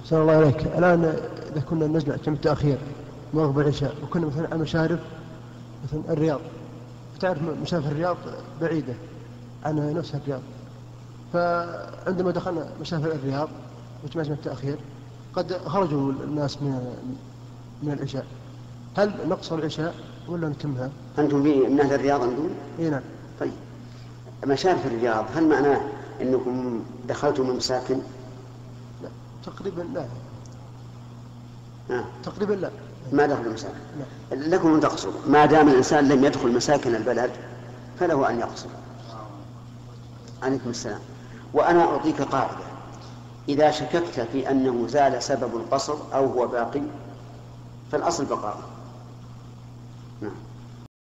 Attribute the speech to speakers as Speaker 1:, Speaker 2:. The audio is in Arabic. Speaker 1: أحسن الله إليك الآن إذا كنا نجمع كم التأخير نوقف العشاء وكنا مثلا على مشارف مثلا الرياض تعرف مشارف الرياض بعيدة عن نفسها الرياض فعندما دخلنا مشارف الرياض وجمع التأخير قد خرجوا الناس من من العشاء هل نقصر العشاء ولا نتمها؟
Speaker 2: أنتم في من أهل الرياض أنتم؟
Speaker 1: اي نعم
Speaker 2: طيب مشارف الرياض هل معناه أنكم دخلتم من مساكن؟
Speaker 1: لا تقريبا لا
Speaker 2: آه.
Speaker 1: تقريبا لا
Speaker 2: ما دخلوا مساكن
Speaker 1: لا
Speaker 2: لكم أن تقصروا ما دام الإنسان لم يدخل مساكن البلد فله أن يقصر عليكم السلام وأنا أعطيك قاعدة إذا شككت في أنه زال سبب القصر أو هو باقي فالأصل بقاؤه